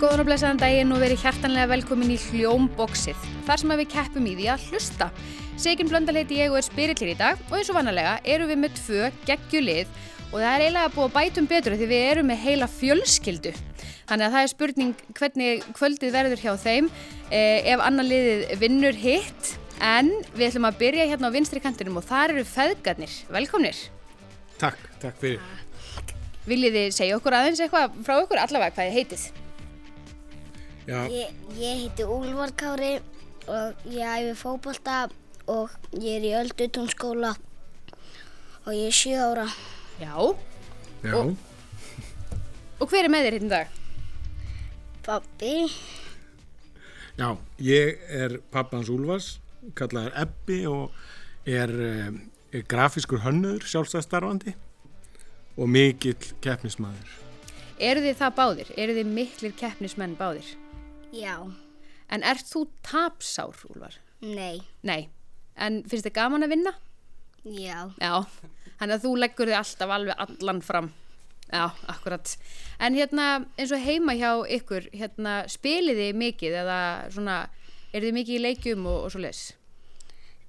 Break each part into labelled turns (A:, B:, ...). A: Góðan og blessaðan daginn og verið hjartanlega velkomin í Hljómboxið, þar sem að við keppum í því að hlusta. Sigin Blöndal heiti ég og er spirillir í dag og eins og vanalega erum við með tvö geggjulið og það er eiginlega búið að bætum betur af því við erum með heila fjölskyldu. Þannig að það er spurning hvernig kvöldið verður hjá þeim eh, ef annar liðið vinnur hitt en við ætlum að byrja hérna á vinstri kantinum og þar eru feðgarnir. Velkomnir!
B: Takk, takk fyrir.
A: Viljið þið segja okkur aðeins eitthvað frá okkur allavega hvað þið heitið?
B: Já,
C: Ég, ég heiti Úlvar Kári og ég æfi fótbolta og ég er í Öldutúnskóla og ég er 7 ára.
A: Já,
B: já,
A: og- Og hver er með þér hérna í dag?
C: Pappi,
B: já. Ég er pappans Úlfars, kallaður Ebbi og er, eh, er grafiskur hönnur, sjálfstæðstarfandi og mikill keppnismæður.
A: Eru þið það báðir? Eru þið miklir keppnismenn báðir?
C: já,
A: En ert þú tapsár, Úlfar?
C: nei,
A: Nei. En finnst þið gaman að vinna?
C: já,
A: Já. Þannig að þú leggur þið alltaf alveg allan fram. Já, akkurat. En hérna, eins og heima hjá ykkur, hérna, spilið þið mikið eða svona, eru þið mikið í leikjum og, og svo leis?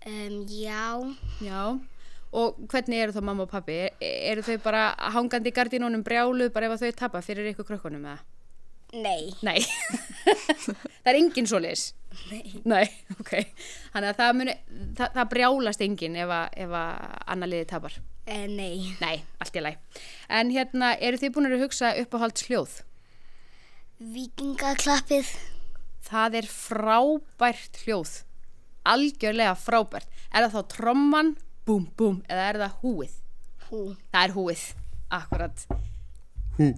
C: um, já,
A: Já. Og hvernig eru þá mamma og pappi? Er, eru þau bara hangandi í gardínunum brjáluð bara ef að þau tapa fyrir ykkur krökkunum eða?
C: nei,
A: Nei, það er enginn svoleiðis. Nei. Nei, ok. Þannig að það, muni, það, það brjálast enginn ef að, ef að annar liði tapar.
C: e, nei,
A: Nei, allt í læg. En hérna, eru þið búin að hugsa uppáhalds hljóð?
C: vikingaklappið,
A: Það er frábært hljóð. Algjörlega frábært. Er það þá tromman, búm, búm, eða er það húið?
C: hú,
A: Það er húið, akkurat.
B: Hú.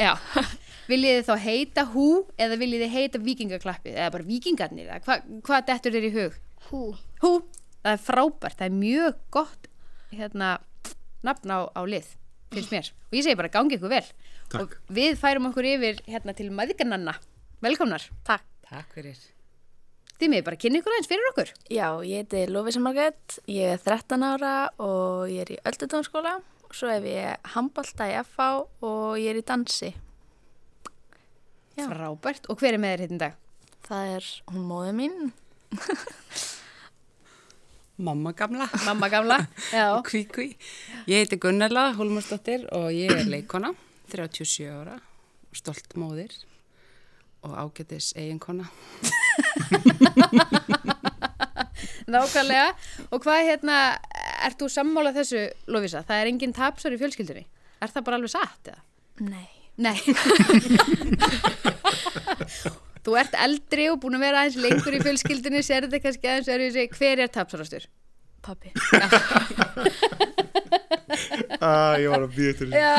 A: Já, viljið þið þá heita hú eða viljið þið heita vikingaklappið eða bara vikingarnir, eða hva, hvað dettur þér í hug?
C: hú,
A: Hú, það er frábært, það er mjög gott hérna, nafn á, á lið, finnst mér. Og ég segi bara gangi ykkur vel.
B: Takk.
A: Og við færum okkur yfir hérna til maðgananna. Velkomnar. Takk.
D: Takk fyrir.
A: Þið með bara kynni ykkur aðeins fyrir okkur.
E: Já, ég heiti Lófisa Margrét, ég er 13 ára og ég er í öldutánskóla og svo hef ég handbalta í FH og ég er í dansi. Já.
A: Frábært. Og hver er með þér hérna í dag?
E: Það er hún móðið mín.
D: Mamma gamla.
A: Mamma gamla. Já.
D: Og kví kví. Ég heiti Gunnarla Hólmarsdóttir og ég er leikona, 37 ára, stolt móðir og ágætis eiginkona.
A: Nákvæmlega. Og hvað hérna, ert þú sammála þessu, Lofisa? Það er enginn tapsar í fjölskyldunni. Er það bara alveg satt eða?
E: Nei.
A: Nei. þú ert eldri og búin að vera aðeins lengur í fjölskyldunni, sér þetta kannski aðeins er þessi, hver er tapsarastur?
E: Pappi.
B: Ah, ég var að býja til
A: Já.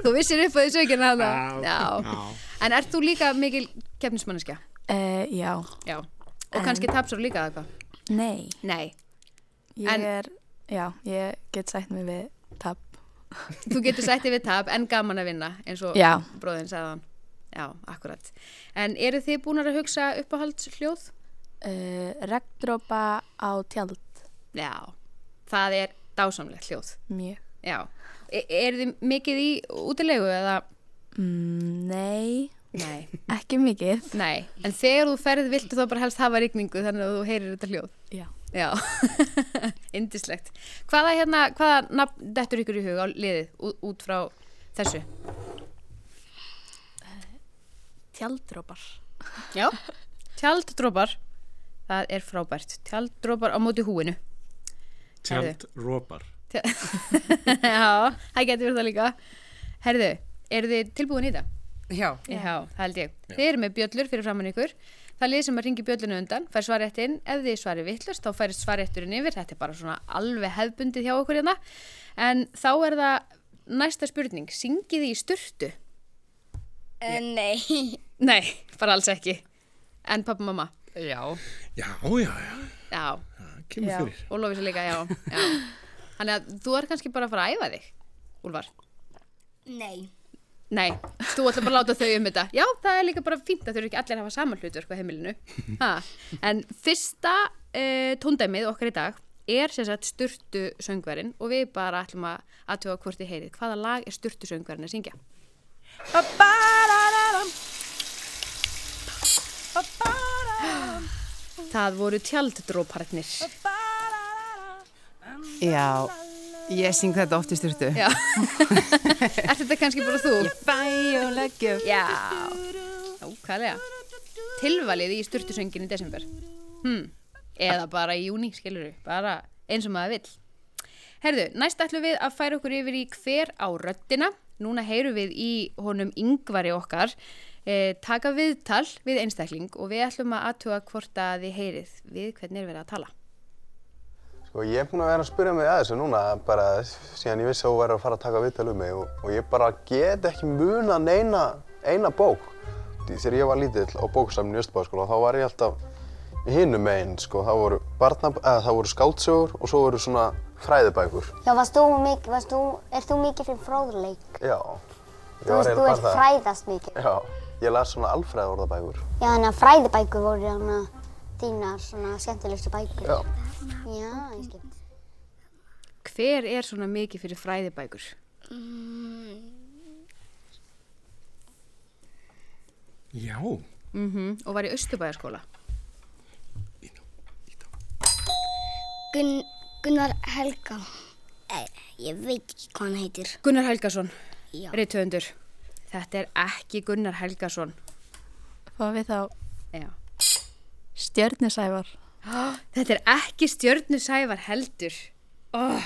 A: þú vissir upp á þessu ekki en að það. Já.
B: Já.
A: En ert þú líka mikil keppnismanniska?
E: Uh, já.
A: Já. Og kannski tapsar líka eða hvað?
E: Nei.
A: Nei.
E: Ég
A: En-
E: er, já, ég get sætt mig við tapp.
A: Þú getur sættið við tap en gaman að vinna eins og
E: Já.
A: bróðin sagði hann. Já, akkurat. En eru þið búin að hugsa uppáhalds hljóð?
E: Uh, Regndrópa á tjald.
A: Já, það er dásamlegt hljóð.
E: Mjög.
A: Já. E eru þið mikið í útilegu eða?
E: Mm, nei,
A: Nei.
E: ekki mikið.
A: Nei, en þegar þú ferð viltu þá bara helst hafa rigningu þannig að þú heyrir þetta hljóð.
E: Já.
A: Já, indislegt. Hvaða hérna, hvaða nafn dettur ykkur í hug á liðið ú- út frá þessu?
E: Tjaldrópar.
A: Já, tjalddrópar Það er frábært, tjalddrópar á móti húinu
B: Tjald rópar.
A: Já, það getur verið það líka Herðu, eru þið tilbúin í það?
D: Já.
A: Já, það held ég Þið eru með bjöllur fyrir framann ykkur Það lið sem að ringi bjöllunum undan, fær svaréttin ef þið svarið vittlust, þá fær svarétturinn yfir þetta er bara svona alveg hefbundið hjá okkur hérna en þá er það næsta spurning, syngið þið í sturtu?
C: e, nei,
A: Nei, bara alls ekki en pappa mamma,
D: Já.
B: Já, já, já,
A: já,
B: það kemur
E: Já.
B: fyrir.
A: og lofið sér líka, já, já. Þannig að þú er kannski bara að fara að æfa þig, Úlfar.
C: nei,
A: Nei, þú ætlar bara að láta þau um þetta. Já, það er líka bara fínt að þau eru ekki allir að hafa saman hlutverk á heimilinu. Ha. En fyrsta uh, tóndæmið okkar í dag er sem sagt styrtu söngverinn og við bara ætlum að aðtjóða hvort þið heyrið. Hvaða lag er styrtu söngverinn að syngja? Það voru tjalddróparnir.
D: Já, ég syng þetta oft í styrtu.
A: Já. er þetta kannski bara þú?
D: Bæ og leggjum.
A: Já. Ókvæðlega. Tilvalið í styrtusöngin í desember. Hmm. Eða bara í júni, skilur við. Bara eins og maður vill. Herðu, næst ætlum við að færa okkur yfir í hver á röddina. Núna heyrum við í honum yngvari okkar eh, taka viðtal við einstakling og við ætlum að aðtuga hvort að þið heyrið við hvernig er verið að tala.
F: Sko ég er búin að vera að spyrja mig að þessu núna bara síðan ég vissi að þú væri að fara að taka viðtal um mig og, og ég bara get ekki muna neina eina bók. Því Þegar ég var lítill á bóksamni í Östubáskóla þá var ég alltaf hinum einn sko. Það voru, barna, eða, það voru skáldsögur og svo voru svona fræðibækur.
G: Já, varst þú mikið, varst þú, er þú mikið fyrir fróðleik?
F: Já. Ég var
G: Þú veist,
F: eiginlega
G: þú
F: bara
G: ert
F: það.
G: fræðast mikið.
F: Já. Ég las svona alfræðorðabækur.
G: Já, þannig að fræðibækur voru þarna þínar svona skemmtilegustu bækur.
F: Já.
G: Já, ég skil.
A: Hver er svona mikið fyrir fræðibækur?
B: Já.
A: Mm, og var í Östubæðarskóla.
C: Gun, Gunnar Helga. Eh, ég veit ekki hvað hann heitir.
A: Gunnar Helgason,
C: Já.
A: reytöfundur. Þetta er ekki Gunnar Helgason.
E: Fá við þá
A: Já.
E: stjörnusævar.
A: Þetta er ekki stjörnu sævar heldur. Oh,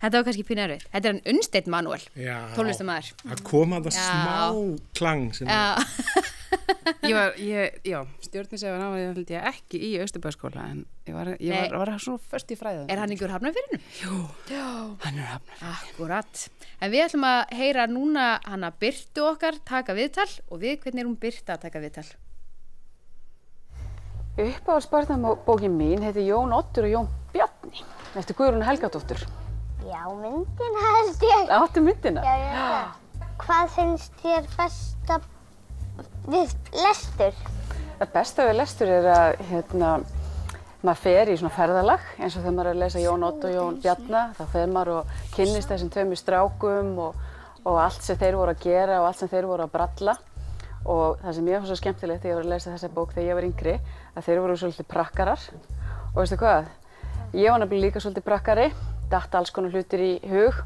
A: þetta var kannski pínarið. Þetta er hann Unnstedt Manuel,
B: Já.
A: tólestamæður.
B: Það kom að það
A: Já.
B: smá klang sem já.
D: Ég var, ég, já, stjórnisefur hann var ég held ég ekki í Östubæðskóla en ég var, ég var,
A: Nei.
D: var svona först í fræðum.
A: Er hann ekki úr hafnafyrinu?
D: Hann er hafnar.
A: Akkurat. En við ætlum að heyra núna hana Byrtu okkar taka viðtal og við hvernig er hún Byrta að taka viðtal.
H: Uppáhaldsbarnabókin mín heiti Jón Ottur og Jón Bjarni eftir Guðrún Helgadóttur.
G: Já, myndin held ég.
H: Áttu myndina?
G: Já, já, já. Hvað finnst þér besta við lestur?
H: Það besta við lestur er að hérna, maður fer í svona ferðalag eins og þegar maður er að lesa Jón Ott og Jón Bjarna þá fer maður og kynnist þessum tveimur strákum og, og allt sem þeir voru að gera og allt sem þeir voru að bralla og það sem ég var svo skemmtilegt þegar ég var að lesa þessa bók þegar ég var yngri að þeir voru svolítið prakkarar og veistu hvað, ég var nefnilega líka svolítið prakkari datt alls konar hlutir í hug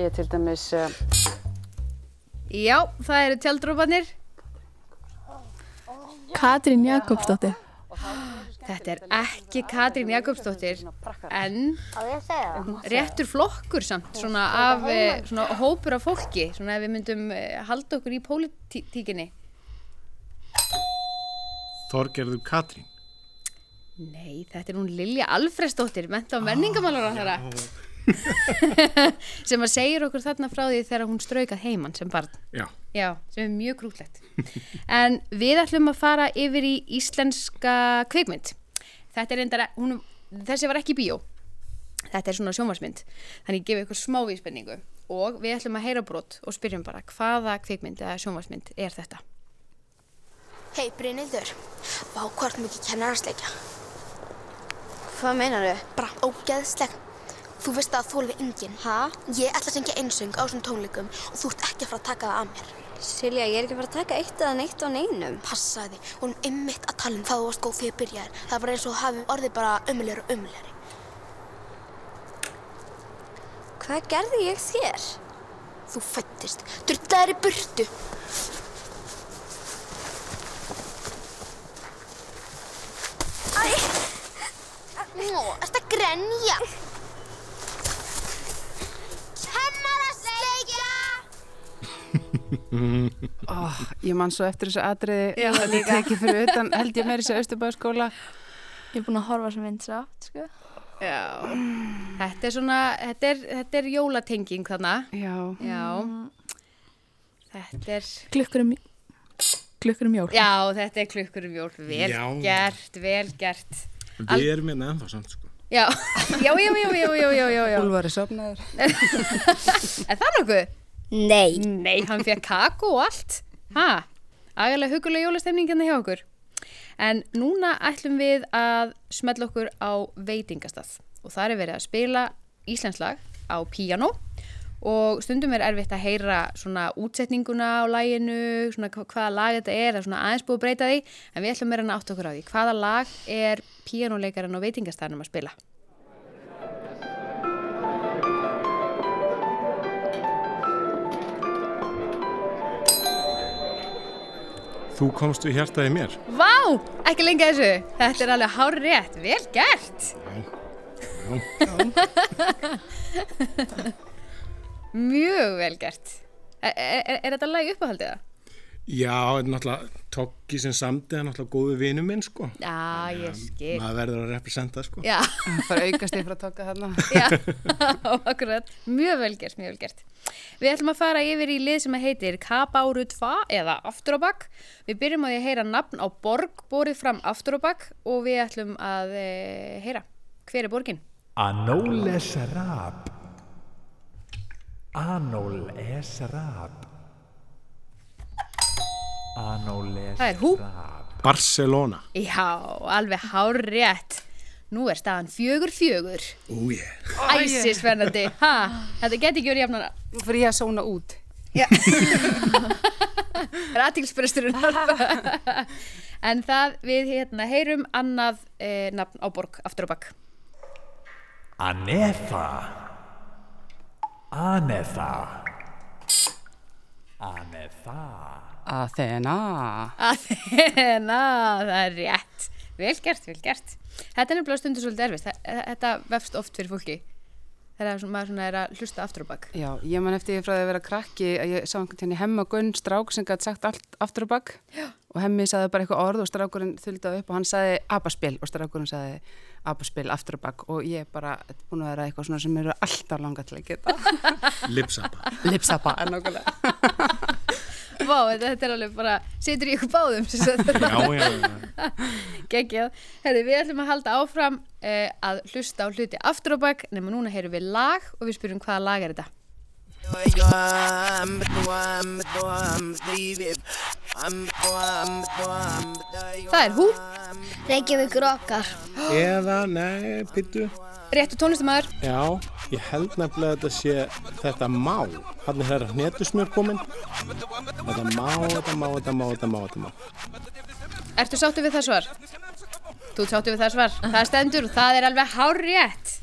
H: ég til dæmis uh,
A: Já, það eru tjaldrópanir.
E: Katrín Jakobsdóttir.
A: Þetta er ekki Katrín Jakobsdóttir en
G: Á ég að segja það?
A: réttur flokkur samt svona af eh, svona hópur af fólki svona ef við myndum eh, halda okkur í pólitíkinni
B: Þorgerður Katrín.
A: Nei, þetta er hún Lilja Alfreðsdóttir menta á menningamálar á þeirra sem að segir okkur þarna frá því þegar hún straukað heiman sem barn
B: Já.
A: Já, sem er mjög grútlegt. En við ætlum að fara yfir í íslenska kvikmynd. Þetta er endara, hún, þessi var ekki í bíó. Þetta er svona sjónvarsmynd. Þannig ég gefi ykkur smá víspenningu. Og við ætlum að heyra brot og spyrjum bara hvaða kvikmynd eða sjónvarsmynd er þetta.
I: Hei, Brynildur. Vá, hvað ertu mikið kennararsleikja? Hvað meinar þau? Bara ógeðsleg. Þú veist að það þólfi enginn. Hæ? Ég ætla að syngja einsöng á þessum tónleikum og þú ert ekki að fara að taka það af mér.
G: Silja, ég er ekki bara að taka eitt eða neitt á neinum.
I: Passaði, við erum ymmit að tala um það þú varst góð þegar ég byrjaði. Það var eins og hafi orðið bara ömulegri og ömulegri.
G: Hvað gerði ég þér?
I: Þú fættist. Drullaðir í burtu. Æ! Nú, ertu að grenja? Kennarasleikja!
D: Oh, ég man svo eftir þessu atriði, já, þetta er ekki fyrir utan, held ég meir þessu Östubæðskóla.
E: Ég er búin að horfa sem mynd svo oft, sko.
A: Já. Þetta er svona, þetta er, þetta er jólatenging þannig.
D: Já,
A: Já. Þetta er...
E: Klukkur um, klukkur um jól.
A: Já, þetta er klukkur um jól. Vel
B: Já.
A: gert, vel gert.
B: Við erum hérna ennþá samt sko.
A: Já, já, já, já, já, já, já, já, já.
D: Úlvar er sofnaður.
A: Er það nokkuð?
C: Nei.
A: Nei, hann fekk kakó og allt. Ha, agalega hugulega jólastemningina hjá okkur. En núna ætlum við að smella okkur á veitingastað og þar er verið að spila íslenslag á píanó og stundum er erfitt að heyra svona útsetninguna á læginu, svona hva- hvaða lag þetta er, það er svona aðeins búið að breyta því en við ætlum meira en að átta okkur á því. Hvaða lag er píanuleikaran á veitingastæðanum að spila.
B: Þú komst við hjartaði mér.
A: Vá, ekki lengi að þessu. Þetta er alveg hár rétt. Vel gert. Mjög vel gert. Er, er, er þetta lag í uppáhaldið það?
B: Já, en náttúrulega Toggi sem samdi er náttúrulega góðu vinu minn, sko.
A: Já, ég skil.
B: Maður verður að representa, sko.
A: Já,
D: Fara aukast yfir að taka þarna.
A: já, akkurat. Mjög vel gert, mjög vel gert. Við ætlum að fara yfir í lið sem að heitir Kabáru 2 eða Aftur á bakk. Við byrjum á því að heyra nafn á borg, borið fram Aftur á bakk og við ætlum að e, heyra hver er borgin.
J: Anól er srab. Anól er srab. Anól er
A: Það er hú.
J: srab.
B: Barcelona.
A: Já, alveg hár rétt. Nú er staðan fjögur fjögur.
B: Ú, yeah.
A: Æsisvernandi. Ha, þetta geti ekki verið jafnana.
D: Nú fyrir ég að sóna út.
A: Það er aðtilsbyrjasturinn. en það við hérna heyrum annað e, nafn á borg aftur á bakk.
J: Anefa. Anefa. Anefa.
D: Athena.
A: Athena, það er rétt. Vel gert, vel gert. Þetta er nefnilega stundu svolítið erfist. Þetta vefst oft fyrir fólki. Þegar svona- maður svona er að hlusta aftur á bakk.
D: Já, ég man eftir ég frá því að vera krakki að ég sá einhvern tíðan í Hemma Gunn strák sem gæti sagt allt aftur á bakk og Hemmi saði bara eitthvað orð og strákurinn þuldaði upp og hann saði abaspil og strákurinn saði abaspil aftur á bakk og ég er bara búin að vera eitthvað svona sem eru alltaf langa til að geta.
B: Lipsapa.
D: Lipsapa. En okkurlega.
A: Vá, þetta, þetta er alveg bara, situr í ykkur báðum. sem sagt.
B: Já, já, já.
A: Geggjað. Herði, við ætlum að halda áfram uh, að hlusta á hluti aftur á bakk. Nefnum núna heyrum við lag og við spyrum hvaða lag er þetta. Það er hú,
C: Reykjavíkur okkar.
B: Eða, nei, pittu.
A: réttu tónlistamæður.
B: Já, ég held nefnilega að þetta sé þetta má. Hann er þeirra hnetusmjör komin. Þetta má, þetta má, þetta má, þetta má, þetta má.
A: Ertu sáttu við það svar? Þú ert sáttu við það svar. Það stendur og það er alveg hárétt.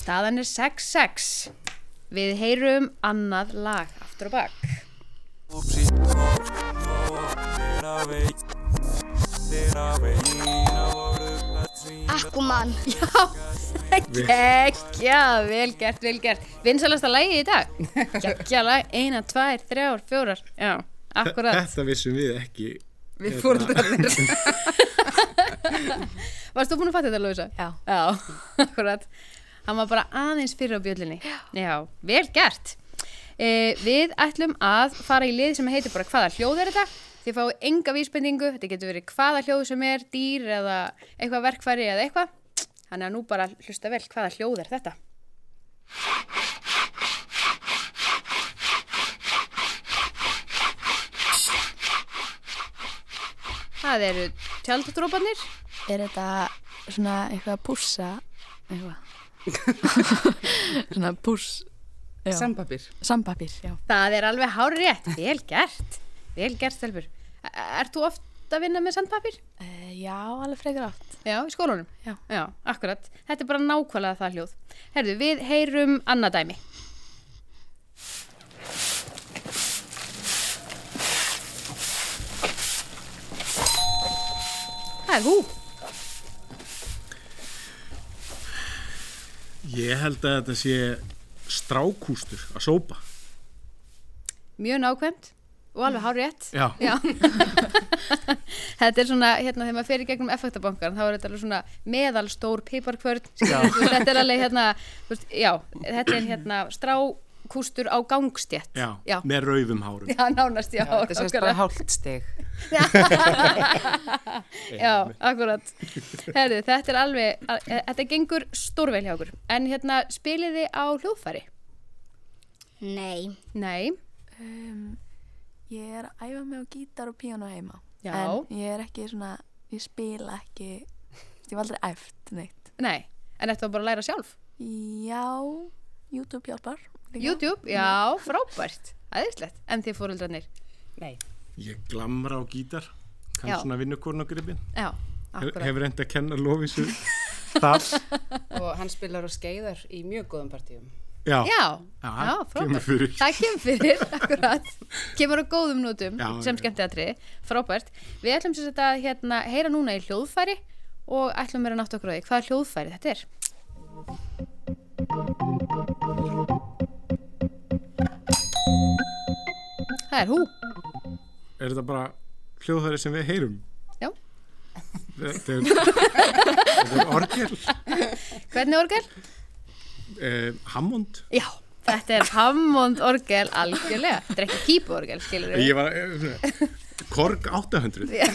A: Staðan er 6-6. Við heyrum annað lag aftur á bakk.
C: Akkumann.
A: Já, geggja, vel gert, vel gert. Vinsalasta lagi í dag. Geggja lag, eina, tvær, þrjár, fjórar. Já, akkurat.
B: Þetta vissum við ekki.
D: Við fórhaldarnir.
A: Varst þú búin að fatta þetta, Lóisa?
E: Já.
A: Já, akkurat. Hann var bara aðeins fyrir á bjöllinni. Já, vel gert. E, við ætlum að fara í lið sem heitir bara hvaða hljóð er þetta. Þið fáið enga vísbendingu, þetta getur verið hvaða hljóð sem er, dýr eða eitthvað verkfæri eða eitthvað. Þannig að nú bara hlusta vel hvaða hljóð er þetta. Það eru tjaldadrópanir.
E: Er þetta svona eitthvað að pússa? Eitthvað. svona púss. Já.
D: Sambabir.
E: Sambapir, já.
A: Það er alveg hár rétt, vel gert, vel gert stelpur. Er þú oft að vinna með sandpapir?
E: Uh, já, alveg frekar átt.
A: Já, í skólanum.
E: Já.
A: akkurat. Þetta er bara nákvæmlega það hljóð. Herðu, við heyrum annað dæmi. Það er hú.
B: Ég held að þetta sé strákústur að sópa.
A: Mjög nákvæmt og alveg hár rétt.
B: Já.
A: Já. þetta er svona, hérna, þegar maður fer í gegnum effektabankan, þá er þetta alveg svona meðalstór piparkvörn. Já. Þetta er alveg, hérna, þú veist, já, þetta er hérna strákústur á gangstjett.
B: Já,
A: Já.
B: með rauðum hárum.
A: Já, nánast, já.
D: Þetta er sérst
A: akkurat.
D: bara hálft stig.
A: Já, akkurat. Herðu, þetta er alveg, að- e- þetta gengur stórvel hjá okkur. En hérna, spilið þið á hljóðfæri?
C: Nei.
A: Nei.
E: Um, ég er að æfa mig á gítar og píano heima.
A: Já.
E: En ég er ekki svona, ég spila ekki, ég var aldrei æft neitt.
A: Nei. En þetta var bara að læra sjálf?
E: Já, YouTube hjálpar. líka.
A: YouTube? Já, frábært. Æðislegt. En þið fóröldrarnir?
B: Ég glamra á gítar. Kann
A: Já.
B: svona vinnukorn og gripin.
A: Já.
B: Akkurat. Hefur reyndi að kenna Lóvísu
D: Þar.
B: þar.
D: og hann spilar á skeiðar í mjög góðum partíum
B: Já,
A: Já, já,
B: kemur
A: frábært.
B: fyrir.
A: Það kemur fyrir, akkurat Kemur á góðum nótum
B: Já,
A: sem
B: já.
A: skemmtiatri Frábært Við ætlum sér þetta að hérna, heyra núna í hljóðfæri og ætlum vera nátt okkur á því hvaða hljóðfæri þetta er Það er hú
B: Er þetta bara hljóðfæri sem við heyrum?
A: Já.
B: Þetta er, þetta er orgel,
A: Hvernig orgel?
B: eh, Hammond.
A: Já, þetta er Hammond orgel algjörlega Þetta er ekki pípuorgel, skilur
B: Ég var, eh, svona, Korg 800.
A: Já.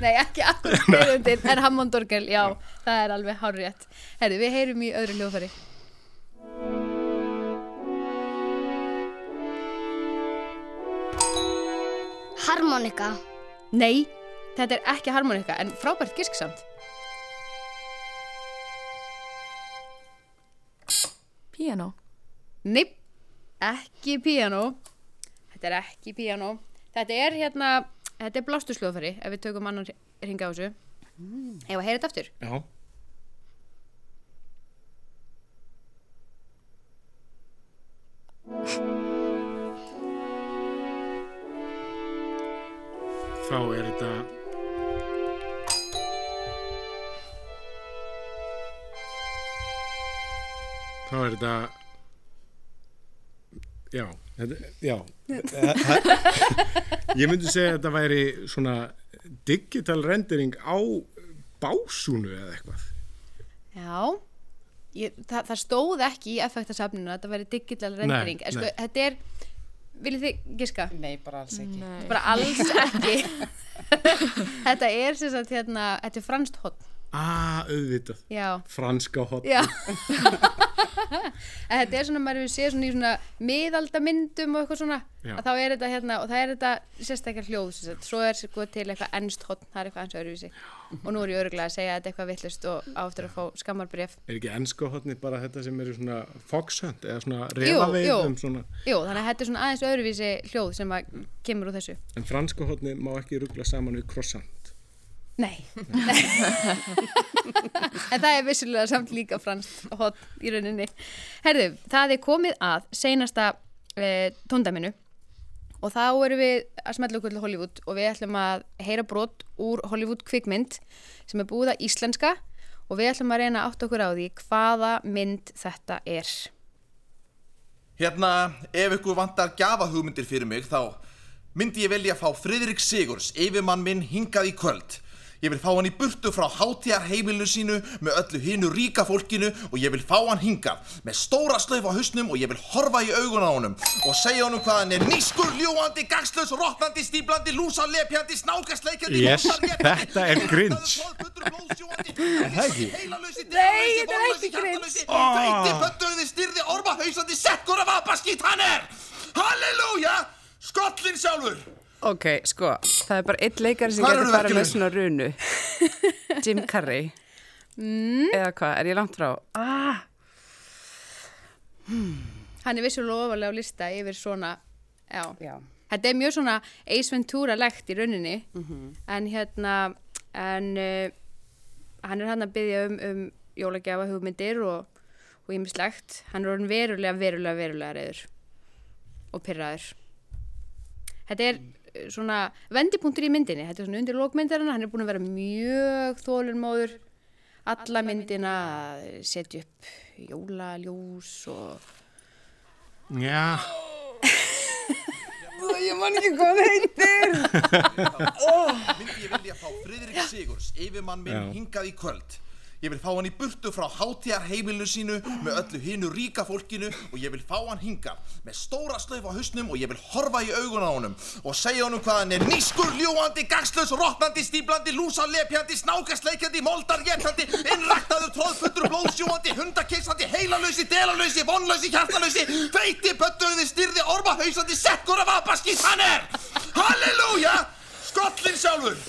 A: Nei, ekki akkurat tegundin, en Hammond orgel, já, það er alveg hárrétt. Herðu, við heyrum í öðru hljóðfæri.
C: Harmonika.
A: Nei, þetta er ekki harmonika, en frábært gisksamt.
E: Piano.
A: Nei, ekki piano. Þetta er ekki piano. Þetta er hérna, þetta er blástusljóðfæri, ef við tökum annan ringa á þessu. Ef að heyra þetta aftur.
B: Já. Þá er þetta Þá er þetta Já, þetta, já Ég myndi segja að þetta væri svona digital rendering á básúnu eða eitthvað
A: Já, ég, það, það stóð ekki í effektasafninu að þetta væri digital rendering. en sko,
B: nei.
A: þetta er, viljið þið giska?
D: Nei, bara alls ekki. Nei.
A: Bara alls ekki. þetta er sem sagt hérna, þetta er franskt hotn.
B: Ah, auðvitað
A: Já.
B: Franska hot
A: Já. En þetta er svona, maður hefur séð svona í svona miðaldamyndum og eitthvað svona
B: Já.
A: að þá er þetta hérna, og það er þetta sérstaklega hljóð, sem sagt. svo er sko til eitthvað ennst hotn, það er eitthvað eins og öruvísi og nú er ég öruglega að segja að þetta er eitthvað villust og áttur að fá skammarbref
B: Er ekki ennska hotni bara þetta sem eru svona foxhunt eða svona
A: Jú,
B: refaveiðum
A: jú.
B: svona
A: Jú, þannig að þetta er svona aðeins öðruvísi hljóð sem að kemur úr þessu.
B: En franska hotni má ekki ruggla saman við croissant
A: Nei. Nei. en það er vissulega samt líka franskt hot í rauninni. Herðu, það er komið að seinasta e, tóndaminu og þá erum við að smetla okkur til Hollywood og við ætlum að heyra brot úr Hollywood kvikmynd sem er búið að íslenska og við ætlum að reyna að átta okkur á því hvaða mynd þetta er.
K: Hérna, ef ykkur vantar gjafahugmyndir fyrir mig, þá myndi ég velja að fá Friðrik Sigurs, yfirmann minn, hingað í kvöld. Ég vil fá hann í burtu frá hátíðarheimilinu sínu með öllu hinu ríka fólkinu og ég vil fá hann hingað með stóra slöf á hausnum og ég vil horfa í augun á honum og segja honum hvað hann er nýskur, ljúandi, gangslaus, rottnandi, stíblandi, lúsa, lepjandi, snákasleikjandi,
B: Yes, þetta er grins Er það ekki? Ah.
K: Nei, þetta er ekki grins Feiti, pöntuði, styrði, orma, hausandi, sekkur af apaskýt hann er Halleluja, skollin sjálfur
D: ok, sko, það er bara einn leikari sem
K: Hvar
D: getur
K: eru
D: bara
K: verkefnin?
D: með svona runu Jim Carrey eða hvað, er ég langt frá ah.
A: Hann er vissulega ofalega á lista yfir svona, já.
D: Já.
A: Þetta er mjög svona Ace Ventura-legt í rauninni. en hérna en uh, hann er hann að byggja um, um jólagjafa hugmyndir og, og ýmislegt, hann er orðin verulega verulega verulega reyður og pyrraður þetta er eh, svona vendipunktur í myndinni, þetta er svona undir lókmyndarinn hann er búin að vera mjög þólunmóður alla myndina að setja upp jólaljós og
B: Já,
D: ég man ekki hvað heitir
K: Myndi ég vilja fá Friðrik Sigurs, yfirmann minn,
B: Já.
K: hingað í kvöld Ég vil fá hann í burtu frá hátíðarheimilinu sínu með öllu hinu ríka fólkinu og ég vil fá hann hingað með stóra slöf á hausnum og ég vil horfa í augun á honum og segja honum hvað hann er nýskur, ljúandi, gangslaus, rottnandi, stíblandi, lúsa, lepjandi, snákasleikjandi, moldarjetandi, innræktaður, tróðfullur, blóðsjúandi, hundakissandi, heilalösi, delalösi, vonlösi, hjartalösi, feiti, pöttuði, styrði, orma, hausandi, sekkur af apaskís, hann er! Halleluja! Skollin sjálfur!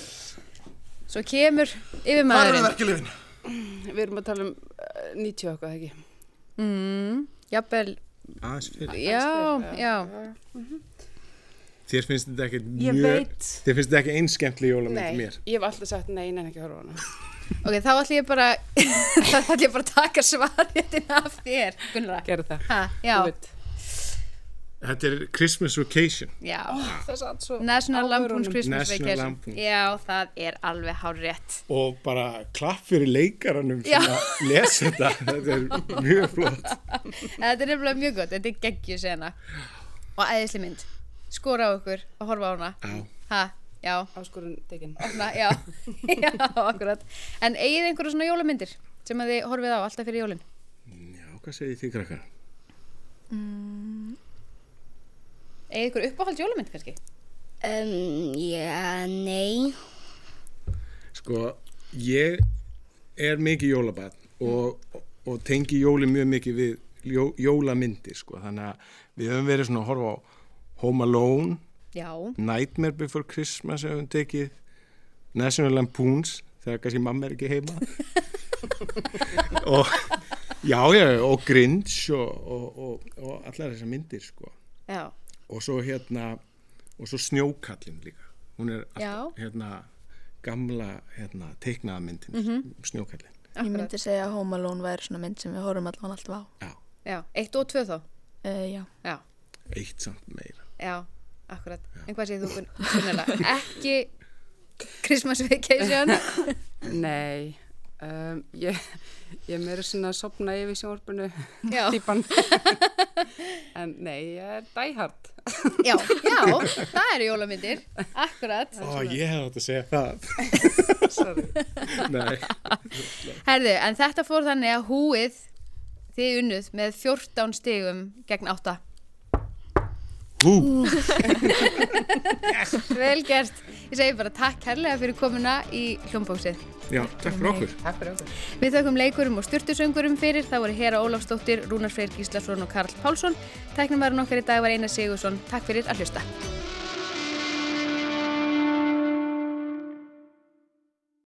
A: svo kemur
K: Hvar eru
A: yfirmaðurinn
K: verkilifin?
D: við erum að tala um uh, 90 og eitthvað, ekki
A: mm, jafnvel
B: aðeins fyrir
A: já, já
B: Þér finnst þetta ekki
D: Ég
B: mjög,
D: veit.
B: þér finnst þetta ekki einskemmtli jólamynd mér.
D: ég hef alltaf sagt nei, neina ekki að horfa á hana.
A: Ok, þá ætlum ég bara þá ætlum ég bara að taka svaréttina af þér, Gunnara.
D: Gerðu það.
A: Ha, já,
B: Þetta er Christmas Vacation.
A: já.
D: það satt svo.
A: National Lampoon's Christmas
B: National
A: Vacation.
B: Lampoon.
A: Já, það er alveg hár rétt.
B: Og bara klapp fyrir leikaranum
A: Já.
B: sem að lesa þetta. Þetta er mjög flott.
A: Þetta er nefnilega mjög gott, þetta er geggjur sena. Og æðisli mynd. Skora á okkur og horfa á hana.
B: Já.
A: Ha, já.
D: Áskorun tekinn.
A: Opna, já, já, akkurat. En eigið þið einhverja svona jólamyndir sem að þið horfið á alltaf fyrir jólinn?
B: Já, hvað segir þið krakkar?
A: Eigið ykkur uppáhald jólamynd kannski?
C: Um, já, nei.
B: Sko, ég er mikið jólabann og, og tengi jóli mjög mikið við jó, jólamyndir, sko. Þannig að við höfum verið svona að horfa á Home Alone,
A: Já.
B: Nightmare Before Christmas hefur hún tekið National Lampoons þegar kannski mamma er ekki heima og já, já, og Grinch og, og, og, og allar þessar myndir sko.
A: Já.
B: og svo hérna og svo Snjókallin líka hún er
E: Já.
B: alltaf, hérna gamla hérna, teiknaða myndin
E: Mhm.
B: Snjókallin
E: Ég myndi segja að Home Alone væri svona mynd sem við horfum allan alltaf á.
A: Já, eitt og tvö þá?
E: Uh, já.
A: Já,
B: eitt samt meira
A: já, akkurat. En hvað segir þú Gunnara? Ekki Christmas Vacation?
D: Nei, um, ég, ég meira svona að sopna yfir sjónvarpinu
A: Já.
D: típan. en nei, ég er dæhard.
A: Já, já, það eru jólamyndir, akkurat.
B: Ó, ég hef átt að segja það Nei
A: Herðu, en þetta fór þannig að húið þið unnuð með 14 stigum gegn 8.
B: Hú
A: Vel gert. Ég segi bara takk herlega fyrir komuna í hljómbóksið.
B: Já, takk fyrir okkur
D: Takk fyrir okkur
A: Við þökkum leikurum og styrtusöngurum fyrir. Það voru Hera Ólafsdóttir, Rúnar Freyr Gíslason og Karl Pálsson. Tæknum varum okkar í dag var Einar Sigursson. Takk fyrir að hlusta.